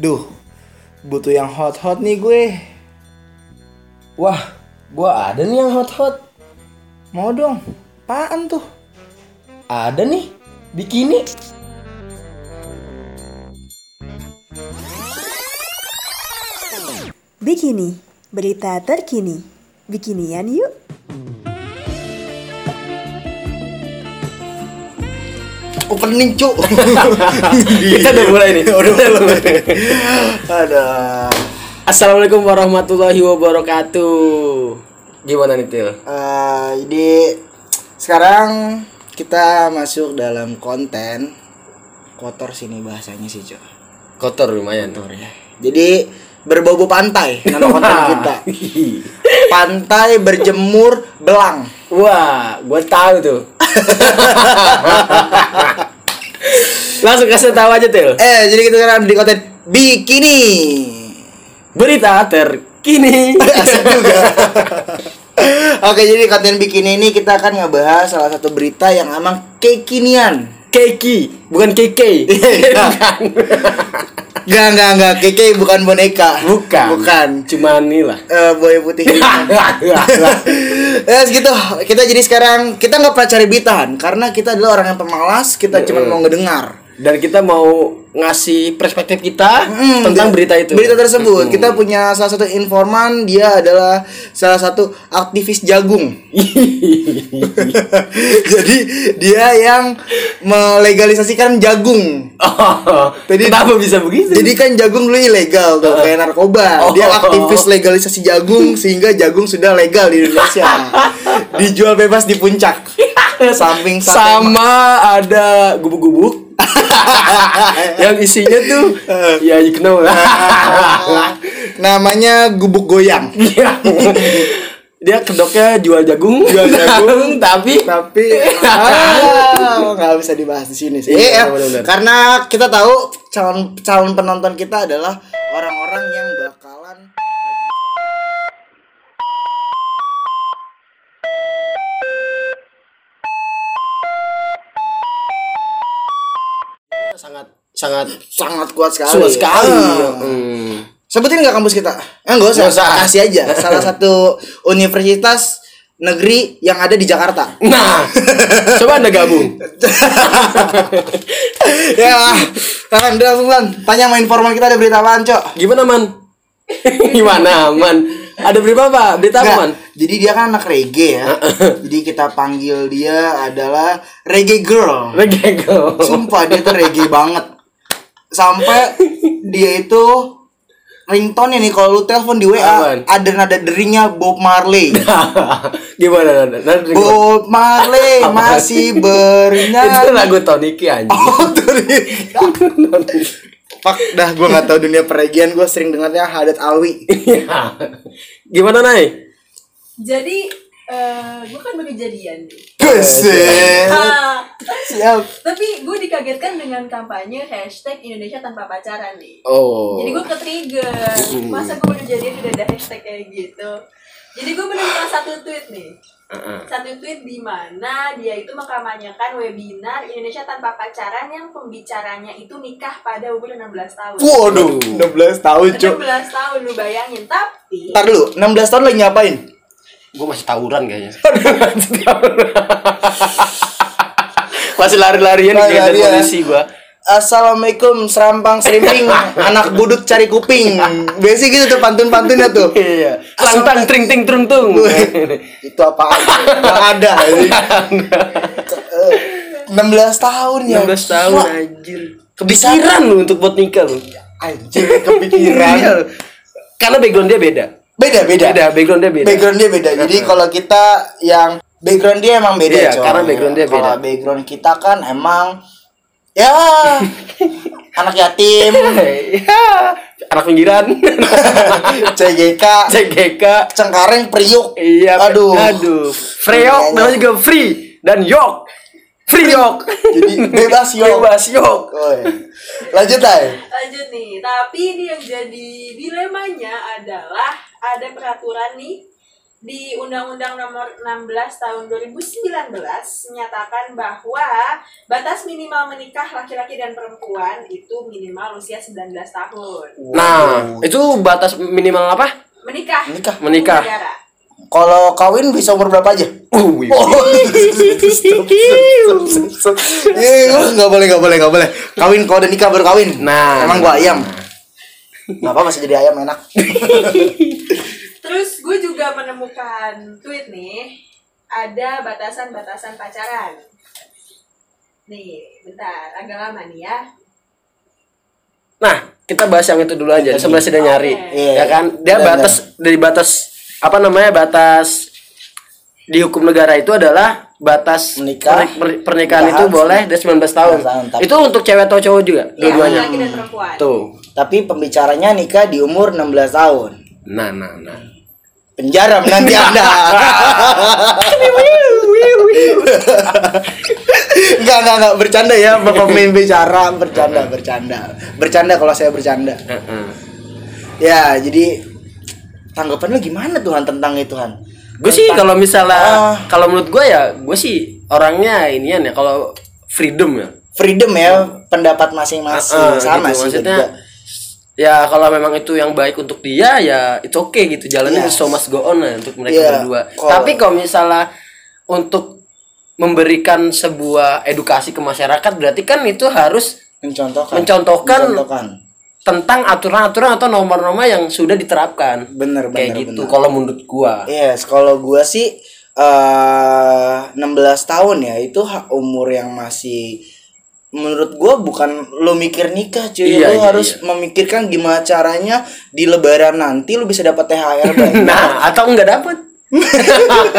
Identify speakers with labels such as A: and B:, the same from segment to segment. A: Duh, butuh yang hot-hot nih gue.
B: Wah, gua ada nih yang hot-hot.
A: Mau dong, apaan tuh?
B: Ada nih, bikini.
C: Bikini, berita terkini. Bikinian yuk.
A: Oh pening cu
B: Kita Iya, udah mulai nih.
A: Udah mulai Ada
B: Assalamualaikum warahmatullahi wabarakatuh. Gimana nih Til?
A: Eh, Jadi sekarang kita masuk dalam konten Kotor sini bahasanya sih cu
B: Kotor lumayan.
A: Kotor ya Jadi berbau pantai nama konten kita Pantai berjemur belang
B: Wah, gua tahu tuh. Langsung kasih tahu aja Til.
A: Eh jadi kita sekarang di konten bikini
B: Berita terkini.
A: Asik juga. Oke, jadi konten bikini ini kita akan ngebahas salah satu berita yang emang kekinian.
B: Keki, bukan Keke.
A: Enggak, enggak, enggak. Keke bukan boneka.
B: bukan.
A: Bukan.
B: Cuma inilah.
A: Eh, boy putih. ya gitu. Kita jadi sekarang kita nggak pernah cari bitan karena kita adalah orang yang pemalas, kita cuma mau ngedengar.
B: dan kita mau ngasih perspektif kita
A: Hmm,
B: tentang
A: di-
B: berita itu.
A: Berita tersebut. Kita punya salah satu informan, dia adalah salah satu aktivis jagung. Jadi dia yang melegalisasikan jagung.
B: oh,
A: Jadi-
B: kenapa bisa begitu?
A: Jadi kan jagung dulu ilegal tuh kayak narkoba. Dia
B: Oh.
A: aktivis legalisasi jagung sehingga jagung sudah legal di Indonesia. Dijual bebas di puncak. Samping sate
B: sama ada gubuk-gubuk yang isinya tuh ya you know lah.
A: ma- namanya gubuk goyang.
B: Dia kedoknya jual jagung,
A: Jual jagung,
B: tapi
A: Tapi ah, nggak bisa dibahas di sini sih.
B: Iya,
A: Iya,
B: benar-benar.
A: karena kita tahu calon calon penonton kita adalah orang-orang yang bakalan
B: sangat sangat
A: Iya, sangat kuat sekali.
B: sulit sekali.
A: Ah.
B: Hmm.
A: Sebutin nggak kampus kita? Eh, nggak usah.
B: Nggak usah.
A: Kasih aja. Salah satu universitas negeri yang ada di Jakarta.
B: Nah, coba anda gabung.
A: ya, Tahan, udah langsung Lan. Tanya sama informan kita ada berita apaan, Cok?
B: Gimana man? Gimana man? Ada berita apa? Berita Ah, apa man?
A: Nggak, Jadi dia kan anak reggae ya. Jadi kita panggil dia adalah reggae girl.
B: Reggae
A: Sumpah dia tuh reggae banget. Sampai dia itu ringtone nih kalau lu telepon di WA
B: Apaan?
A: ada nada deringnya Bob Marley.
B: Gimana? Nanda? Nanda, dengerin.
A: Bob Marley
B: Apaan?
A: masih
B: Itu
A: bernyanyi.
B: lagu Toniki anjing.
A: ya. Oh, tuh dia. Fuck, dah gue nggak tahu dunia peregian gue sering dengarnya Hadat Alwi.
B: Iya. Gimana Nay?
D: Jadi eh gue kan baru jadian nih.
A: Kesel.
D: Ah,
A: Siap.
D: tapi gue dikagetkan dengan kampanye hashtag Indonesia tanpa pacaran nih.
B: Oh.
D: Jadi gue ke trigger. Masa gue baru jadian udah ada hashtag kayak gitu. Jadi gue menemukan satu tweet nih.
B: Heeh.
D: Satu tweet di mana dia itu mengkampanyekan webinar Indonesia tanpa pacaran yang pembicaranya itu nikah pada umur 16 tahun.
A: Waduh, 16 tahun cuk.
D: 16 tahun lu bayangin tapi
A: Ntar dulu, 16 tahun lagi ngapain?
B: Gue masih tawuran kayaknya. Masih tawuran. masih lari-larian di jalan
A: Lari-larian.
B: polisi gue.
A: Assalamualaikum serampang serimping anak budut cari kuping. Biasanya gitu tuh pantun-pantunnya tuh.
B: Iya. Tang tang tring ting trung tung.
A: Itu apa? Nggak ada. Eh, 16 tahun ya.
B: 16 tahun
A: Wah,
B: anjir. Kepikiran lu untuk buat nikah lu.
A: Iya. Anjir kepikiran.
B: Karena background dia beda.
A: Beda-beda.
B: Iya. Beda, background dia beda.
A: Background dia beda. Jadi kalau kita yang background dia emang beda
B: Iya,
A: Cok.
B: karena background dia
A: Kalau
B: beda.
A: background kita kan emang ya anak yatim,
B: Ya, anak pinggiran.
A: CGK,
B: CGK.
A: Cengkareng, Priuk.
B: Iya.
A: Aduh.
B: Aduh.
A: Iya,
B: Freyok namanya juga free dan yok. Free yok.
A: Jadi bebas yo.
B: Bebas yok.
A: Lanjut ay.
D: lanjut nih tapi ini yang jadi dilemanya adalah ada peraturan nih di Undang-Undang Nomor 16 Tahun 2019 menyatakan bahwa batas minimal menikah laki-laki dan perempuan itu minimal usia 19 tahun.
B: Nah, itu batas minimal apa?
D: Menikah.
A: Menikah.
B: Menikah.
D: Negara.
A: Kalau kawin bisa umur berapa aja?
B: Uh, wih.
A: Eh, gua nggak boleh, nggak boleh, nggak boleh. Kawin kalau udah nikah baru kawin.
B: Nah.
A: emang gua ayam. Nggak apa masih jadi ayam enak.
D: Terus gue juga menemukan tweet nih, ada batasan-batasan pacaran. Nih, bentar, agak lama nih ya.
B: Nah, kita bahas yang itu dulu aja. Sebelah sudah nyari,
A: Iya.
B: ya kan? Dia
A: Benar,
B: batas dari batas apa namanya batas di hukum negara itu adalah batas
A: Menikah.
B: per- per- pernikahan itu
A: Pernikahan.
B: boleh dari 19 tahun.
A: 19 tahun, tapi- Iya.
B: Itu untuk cewek atau cowok juga?
D: Ya,
B: Dua-duanya.
D: laki dan perempuan.
B: Tuh.
A: Tapi pembicaranya nikah di umur 16 tahun.
B: Nah, nah, nah.
A: Penjara menanti Anda. Enggak, enggak, enggak bercanda ya, Bapak pemain bicara bercanda, bercanda. Bercanda kalau saya bercanda.
B: Heeh.
A: Ya, jadi tanggapan lu gimana Tuhan tentang itu, Han?
B: Gue sih
A: Tentang-
B: kalau misalnya
A: Ah.
B: kalau menurut gue ya gue sih orangnya inian ya kalau freedom ya.
A: freedom ya, pendapat masing-masing
B: Heeh,
A: sama
B: gitu.
A: sih
B: maksudnya.
A: gua juga.
B: Ya kalau memang itu yang baik untuk dia ya itu oke gitu jalannya
A: Yes.
B: so must go on lah untuk mereka
A: Iya,
B: berdua.
A: kalau-
B: Tapi kalau misalnya untuk memberikan sebuah edukasi ke masyarakat berarti kan itu harus
A: Mencontohkan.
B: Mencontohkan.
A: Mencontohkan.
B: tentang aturan-aturan atau nomor-nomor yang sudah diterapkan.
A: Bener, bener,
B: Kayak gitu
A: bener. Iya.
B: kalau menurut gua.
A: Yes, kalau gua sih eh 16 tahun ya itu ha- umur yang masih menurut gua bukan lo mikir nikah cuy,
B: Iya,
A: lo
B: iya,
A: harus memikirkan gimana caranya di lebaran nanti lo bisa dapat THR banyak.
B: Nah, atau nggak dapet
A: 16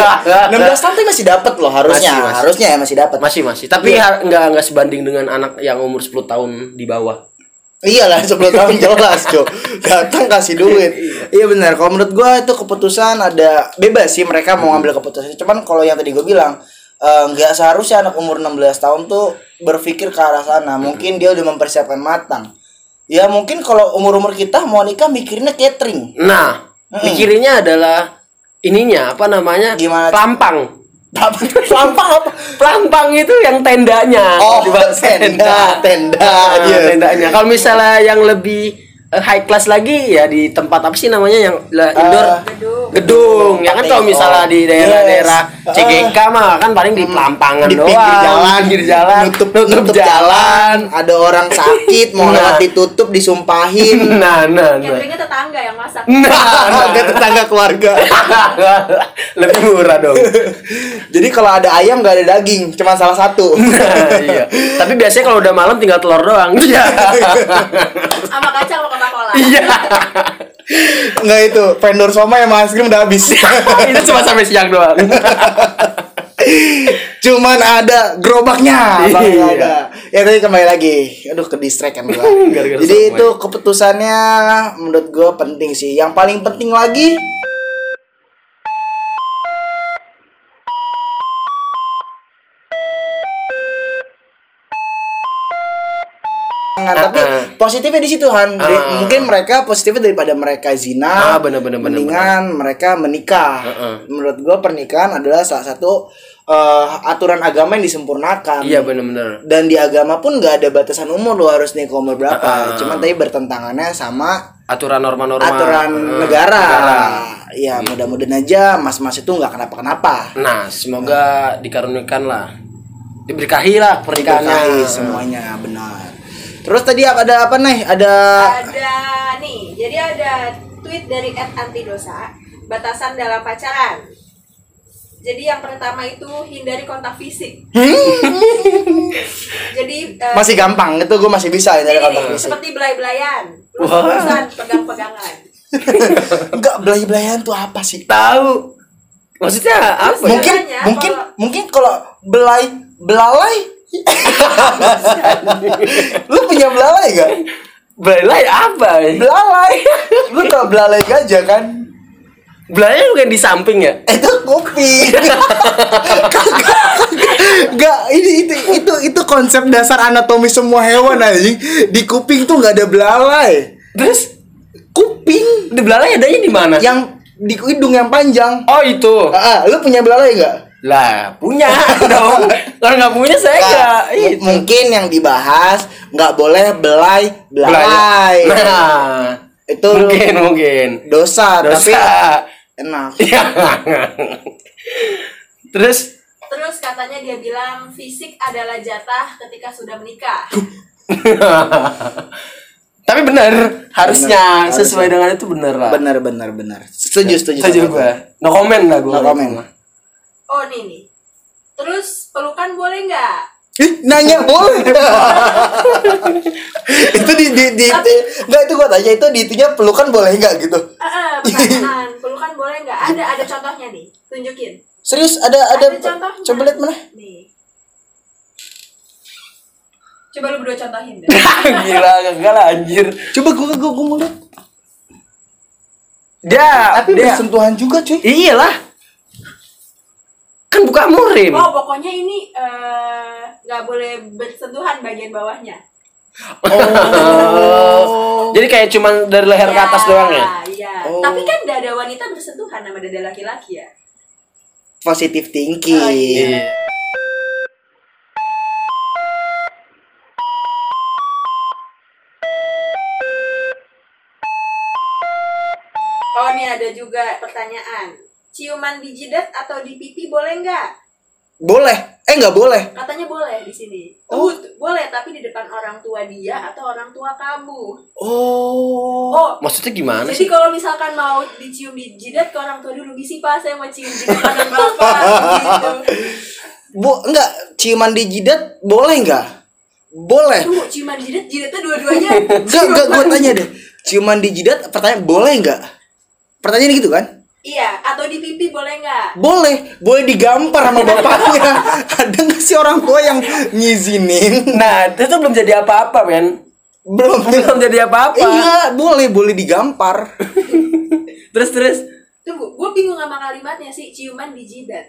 A: tahun tuh masih dapat loh harusnya,
B: Masih, masih.
A: harusnya ya masih dapat.
B: masih masih tapi
A: Iya.
B: har- nggak nggak sebanding dengan anak yang umur 10 tahun di bawah
A: Iyalah sebelum tahun jelas Jo Datang kasih duit Iya benar Kalau menurut gua itu keputusan ada Bebas sih mereka mau ngambil keputusan Cuman kalau yang tadi gue bilang eh, nggak seharusnya anak umur 16 tahun tuh Berpikir ke arah sana Mungkin dia udah mempersiapkan matang Ya mungkin kalau umur-umur kita mau nikah mikirnya catering
B: nah
A: Hmm.
B: mikirinnya adalah ininya apa namanya
A: Gimana?
B: pelampang
A: Apa tuh? Sampah apa?
B: pelampang itu yang tendanya
A: Oh
B: Di bawah
A: tenda Tenda
B: Nah,
A: iya.
B: tendanya kalau misalnya yang lebih eh, high class lagi ya di tempat apa sih namanya yang la-
A: Ah.
B: indoor
D: Gedung.
B: gedung ya kan kalau
A: Patio.
B: misalnya di daerah-daerah
A: Yes. Ah.
B: CGK mah kan paling di pelampangan
A: di
B: doang
A: pinggir jalan,
B: pinggir jalan
A: nutup, nutup, jalan. ada orang sakit mau
B: Nah.
A: lewat ditutup disumpahin
B: nah
A: Iya.
B: nah nah
D: Cateringnya tetangga yang masak.
A: ada tetangga keluarga
B: lebih murah dong
A: jadi kalau ada ayam gak ada daging cuma salah satu
B: Nah, iya. tapi biasanya kalau udah malam tinggal telur doang iya
D: Sama kacang sama Coca-Cola.
B: iya
A: nggak itu vendor soma yang es krim udah habis
B: itu cuma sampai siang doang
A: cuman ada gerobaknya
B: Iya.
A: Bang, nggak ada. ya tadi kembali lagi aduh ke distract kan gua.
B: Gara-gara
A: jadi
B: sama ya.
A: itu keputusannya menurut gue penting sih yang paling penting lagi Nah, tapi
B: Uh-uh.
A: positifnya di situ Han Di-
B: Uh-uh.
A: mungkin mereka positifnya daripada mereka zina
B: Ah, bener-bener, bener-bener.
A: mendingan mereka menikah
B: Uh-uh.
A: menurut gue pernikahan adalah salah satu eh, aturan agama yang disempurnakan
B: iya bener-bener
A: dan di agama pun nggak ada batasan umur lo harus nikah umur berapa
B: Ah.
A: cuman tadi bertentangannya sama
B: aturan norma-norma
A: aturan
B: Eh,
A: negara. ya
B: Gitu.
A: mudah-mudahan aja mas-mas itu nggak kenapa-kenapa
B: nah semoga dikarunikan lah diberkahi lah
A: Diberkahi
B: pernikahannya
A: semuanya benar terus tadi apa- ada apa nih ada
D: Ada nih, jadi ada tweet dari Ed Antidosa, batasan dalam pacaran. Jadi yang pertama itu hindari kontak fisik. jadi eh,
A: Hmm. masih gampang itu gue masih bisa ya dari
D: jadi
B: Iya.
D: gini,
A: kontak fisik
D: seperti belai-belayan, urusan pegang-pegangan.
A: nggak belai-belayan tuh apa sih
B: tahu maksudnya apa ya?
A: mungkin
D: Biasanya
A: mungkin
D: kalau-
A: mungkin kalau belai belalai lu punya belalai gak
B: belai apa ya?
A: belalai lu tau belalai gajah kan
B: belai bukan di samping ya
A: Eh, itu kopi Gak, ini itu itu itu konsep dasar anatomi semua hewan anjing. Di kuping tuh nggak ada belalai.
B: terus
A: Kuping
B: di belalai adanya di mana
A: yang di hidung yang panjang.
B: Oh itu.
A: Ah, ah, lu punya belalai nggak?
B: Lah punya dong. Kalau nggak punya saya nggak.
A: Nah, m- mungkin yang dibahas nggak boleh belai belai.
B: Nah,
A: Itu
B: mungkin mungkin.
A: dosa, tapi Nah,
B: Dosa.
A: enak.
B: Ya. Terus
D: Terus katanya dia bilang fisik adalah jatah ketika sudah menikah.
B: Tapi benar, harusnya
A: Benar,
B: sesuai dengan itu benar lah.
A: Benar benar benar. Setuju setuju.
B: Iya. Setuju
A: sama
B: gue. No comment lah gue.
A: No comment.
D: Oh nih nih. Terus pelukan boleh nggak?
A: Ih, nanya boleh. itu di di di di- nggak itu gua tanya itu di itunya pelukan boleh nggak gitu.
D: Eh, eh, pertanyaan, pelukan boleh nggak? Ada ada contohnya nih, tunjukin.
A: Serius ada ada,
D: Ada contohnya.
A: coba lihat mana?
D: Nih. Coba lu berdua contohin deh.
B: Gila, enggak lah anjir.
A: Coba gua gua, gua mau lihat.
B: Dia
A: Tapi
B: dia
A: bersentuhan juga cuy.
B: Iyalah. Kan buka murim.
D: Oh, pokoknya ini eh, nggak boleh bersentuhan bagian bawahnya.
B: Oh. Jadi kayak cuman dari leher ke atas doang ya.
D: Iya.
A: Oh.
D: Tapi kan dada wanita bersentuhan sama dada laki-laki ya.
A: Positive thinking.
D: Oh, iya. Oh, nih ada juga pertanyaan. Ciuman di jidat atau di pipi boleh nggak?
A: Boleh. Eh nggak boleh.
D: Katanya boleh di sini.
A: Oh.
D: Oh, boleh tapi di depan orang tua dia atau orang tua kamu.
A: Oh.
D: Oh,
B: Maksudnya gimana sih?
D: jadi kalau misalkan mau dicium di jidat ke orang tua dulu bisa pak saya mau cium jidat anak bapak gitu.
A: Bu, enggak ciuman di jidat boleh nggak? Boleh.
D: Tuh, ciuman di jidat, jidatnya dua-duanya.
A: Enggak, enggak gua tanya deh. Ciuman di jidat pertanyaan boleh nggak? Pertanyaan gitu kan?
D: Iya, atau di pipi boleh nggak?
A: boleh boleh digampar sama bapaknya ada nggak sih orang tua yang ngizinin
B: Nah, itu tuh belum jadi apa-apa, men.
A: belum
B: Belum jadi apa-apa.
A: iya boleh boleh digampar
B: Terus terus
D: Tunggu, gue bingung sama kalimatnya sih, ciuman di jidat.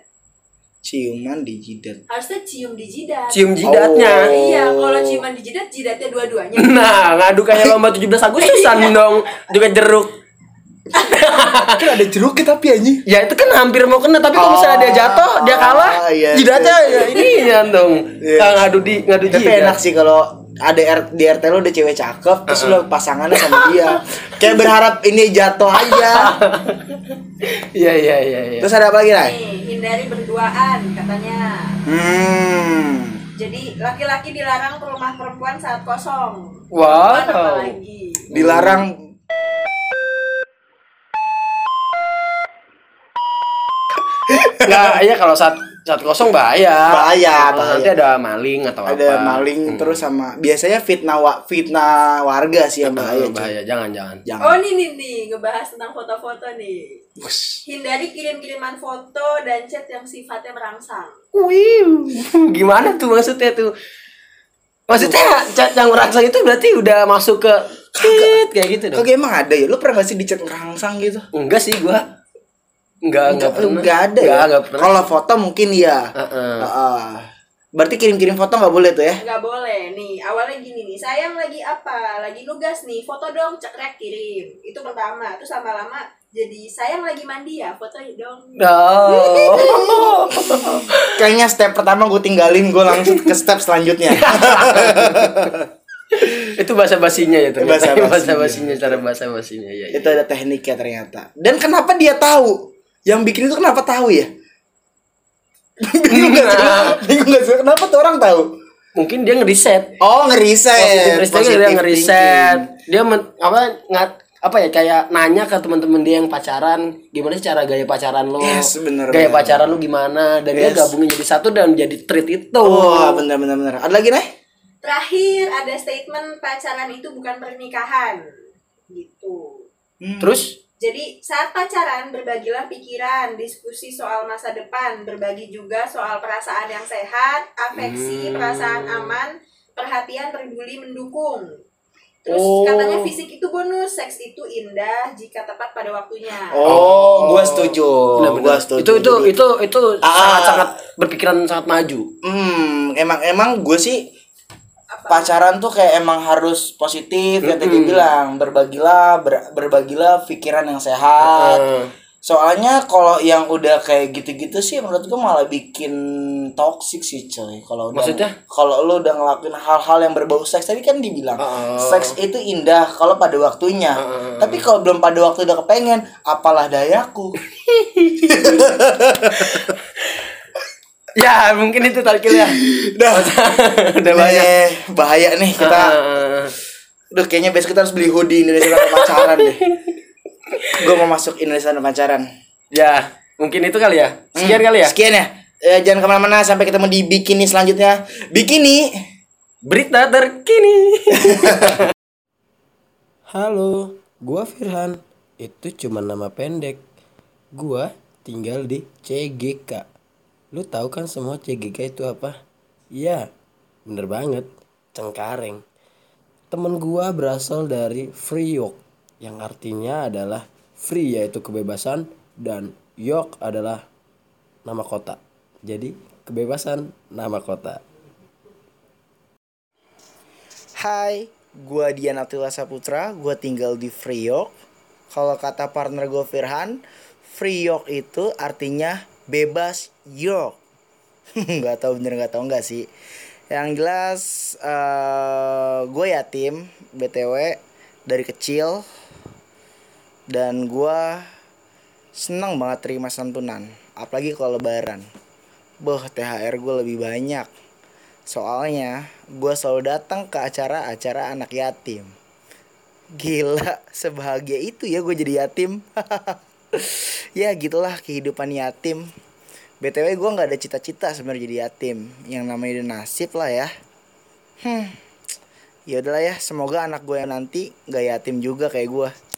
A: ciuman di jidat
D: Harusnya cium di jidat.
B: cium
A: Oh.
B: jidatnya.
D: Iya, kalau ciuman di jidat, jidatnya dua-duanya.
B: Nah, ngadu kayak lomba 17 Agustusan dong. Juga jeruk.
A: kan ada jeruknya tapi anjing
B: Ya itu kan hampir mau kena, tapi kalau misalnya dia jatuh, dia kalah,
A: Ah, iya,
B: jidatnya ya ini ya dong.
A: Iya.
B: Kalau ngadu di ngadu
A: tapi
B: jidat.
A: enak sih kalau ada R- di RT lo udah cewek cakep terus lo pasangannya sama dia kayak berharap ini jatuh aja
B: Iya iya iya iya.
A: terus ada apa lagi Ray?
D: Nih, hindari berduaan katanya.
A: hmm
D: Jadi, laki-laki dilarang ke rumah perempuan saat kosong.
B: Wow.
D: Perempuan apa lagi?
A: dilarang
B: Nah, iya kalau saat saat kosong bahaya.
A: Bahaya,
B: Kalau
A: bahaya.
B: Nanti ada maling atau apa.
A: ada
B: Hmm.
A: maling terus sama biasanya fitnah wa- fitnah warga sih yang bahaya
B: bahaya,
A: cuy.
B: bahaya. Jangan jangan.
A: jangan
D: Oh, nih, nih, nih, ngebahas tentang foto-foto nih. Hindari kirim-kiriman foto dan chat yang sifatnya merangsang.
B: Wiu. Gimana tuh maksudnya tuh? Maksudnya cat yang merangsang itu berarti udah masuk ke tit kayak gitu dong.
A: Kagak emang ada ya? Lu pernah gak sih dicat ngerangsang gitu?
B: Enggak sih gua. Enggak, enggak pernah.
A: Enggak ada ya?
B: Enggak, enggak pernah.
A: Kalau foto mungkin ya.
B: Heeh.
A: Heeh. Berarti kirim-kirim foto gak boleh tuh ya?
D: nggak boleh nih awalnya gini nih sayang lagi apa lagi nugas nih foto dong cekrek kirim itu pertama terus lama-lama jadi sayang lagi mandi ya foto dong
B: Oh.
A: Kayaknya step pertama gue tinggalin, gue langsung ke step selanjutnya.
B: itu bahasa basinya ya ternyata.
A: Basa-basinya.
B: Bahasa basinya cara bahasa basinya ya. ya.
A: itu ada tekniknya ternyata. Dan kenapa dia tahu? Yang bikin itu kenapa tahu ya? Bingung gak sih?
B: Nah.
A: Bingung gak sih? Kenapa tuh orang tahu?
B: Mungkin dia ngeriset.
A: Oh ngeriset,
B: Positive risetnya dia ngeriset. Dia men, apa ngat apa ya kayak nanya ke teman-teman dia yang pacaran gimana sih cara gaya pacaran lo
A: Yes, bener,
B: gaya
A: bener.
B: pacaran lo gimana dan
A: Yes.
B: dia gabungin jadi satu dan jadi treat itu
A: Wah bener bener bener. Ada lagi nih?
D: terakhir ada statement pacaran itu bukan pernikahan gitu
B: terus
D: jadi saat pacaran berbagilah pikiran diskusi soal masa depan berbagi juga soal perasaan yang sehat afeksi
B: Hmm.
D: perasaan aman perhatian peduli mendukung Terus
A: Oh.
D: katanya fisik itu bonus, seks itu indah jika tepat pada waktunya.
A: Oh, gua setuju. Oh,
B: bener-bener.
A: Gua setuju.
B: itu itu
A: Jadi-
B: itu itu
A: Ah.
B: sangat sangat berpikiran sangat maju
A: Hmm, emang emang gue sih
D: Apa?
A: pacaran tuh kayak emang harus positif yang tadi
B: Mm-mm.
A: bilang berbagilah ber- berbagilah pikiran yang sehat
B: Heeh.
A: Soalnya kalau yang udah kayak gitu-gitu sih menurut gue malah bikin toxic sih coy. Kalau udah
B: Maksudnya?
A: kalau lu udah ngelakuin hal-hal yang berbau seks tadi kan dibilang
B: Heeh.
A: seks itu indah kalau pada waktunya.
B: Heeh.
A: Tapi kalau belum pada waktu udah kepengen, apalah dayaku.
B: Ya Iya. mungkin itu talkilnya.
A: Dah.
B: Udah banyak.
A: Eh, bahaya nih
B: Ah,
A: kita.
B: Heeh.
A: Duh kayaknya besok kita harus beli hoodie Indonesia tanpa pacaran deh. Gue mau masuk Indonesia tanpa pacaran.
B: ya mungkin itu kali ya.
A: Hmm,
B: Sekian kali ya.
A: Sekian ya. Eh, jangan kemana-mana sampai ketemu di bikini selanjutnya. Bikini.
B: Berita terkini. Halo, gua Firhan. Itu cuma nama pendek. Gua tinggal di CGK. Lu tahu kan semua CGK itu apa? Iya, bener banget. Cengkareng. Temen gua berasal dari Free York yang artinya adalah free yaitu kebebasan dan York adalah nama kota. Jadi kebebasan nama kota.
A: Hai, gua Dian Atila Saputra, gua tinggal di Free York. Kalau kata partner gua Firhan, Free York itu artinya bebas York. nggak tahu bener nggak tahu nggak sih. Yang jelas eh gue yatim BTW dari kecil dan gua senang banget terima santunan, apalagi kalau lebaran. Boh, THR gue lebih banyak. Soalnya gue selalu datang ke acara-acara anak yatim. Gila, sebahagia itu ya gue jadi yatim. ya gitulah kehidupan yatim. BTW gue nggak ada cita-cita sebenarnya jadi yatim. Yang namanya udah nasib lah ya. Hmm. Ya udahlah ya, semoga anak gue yang nanti nggak yatim juga kayak gue.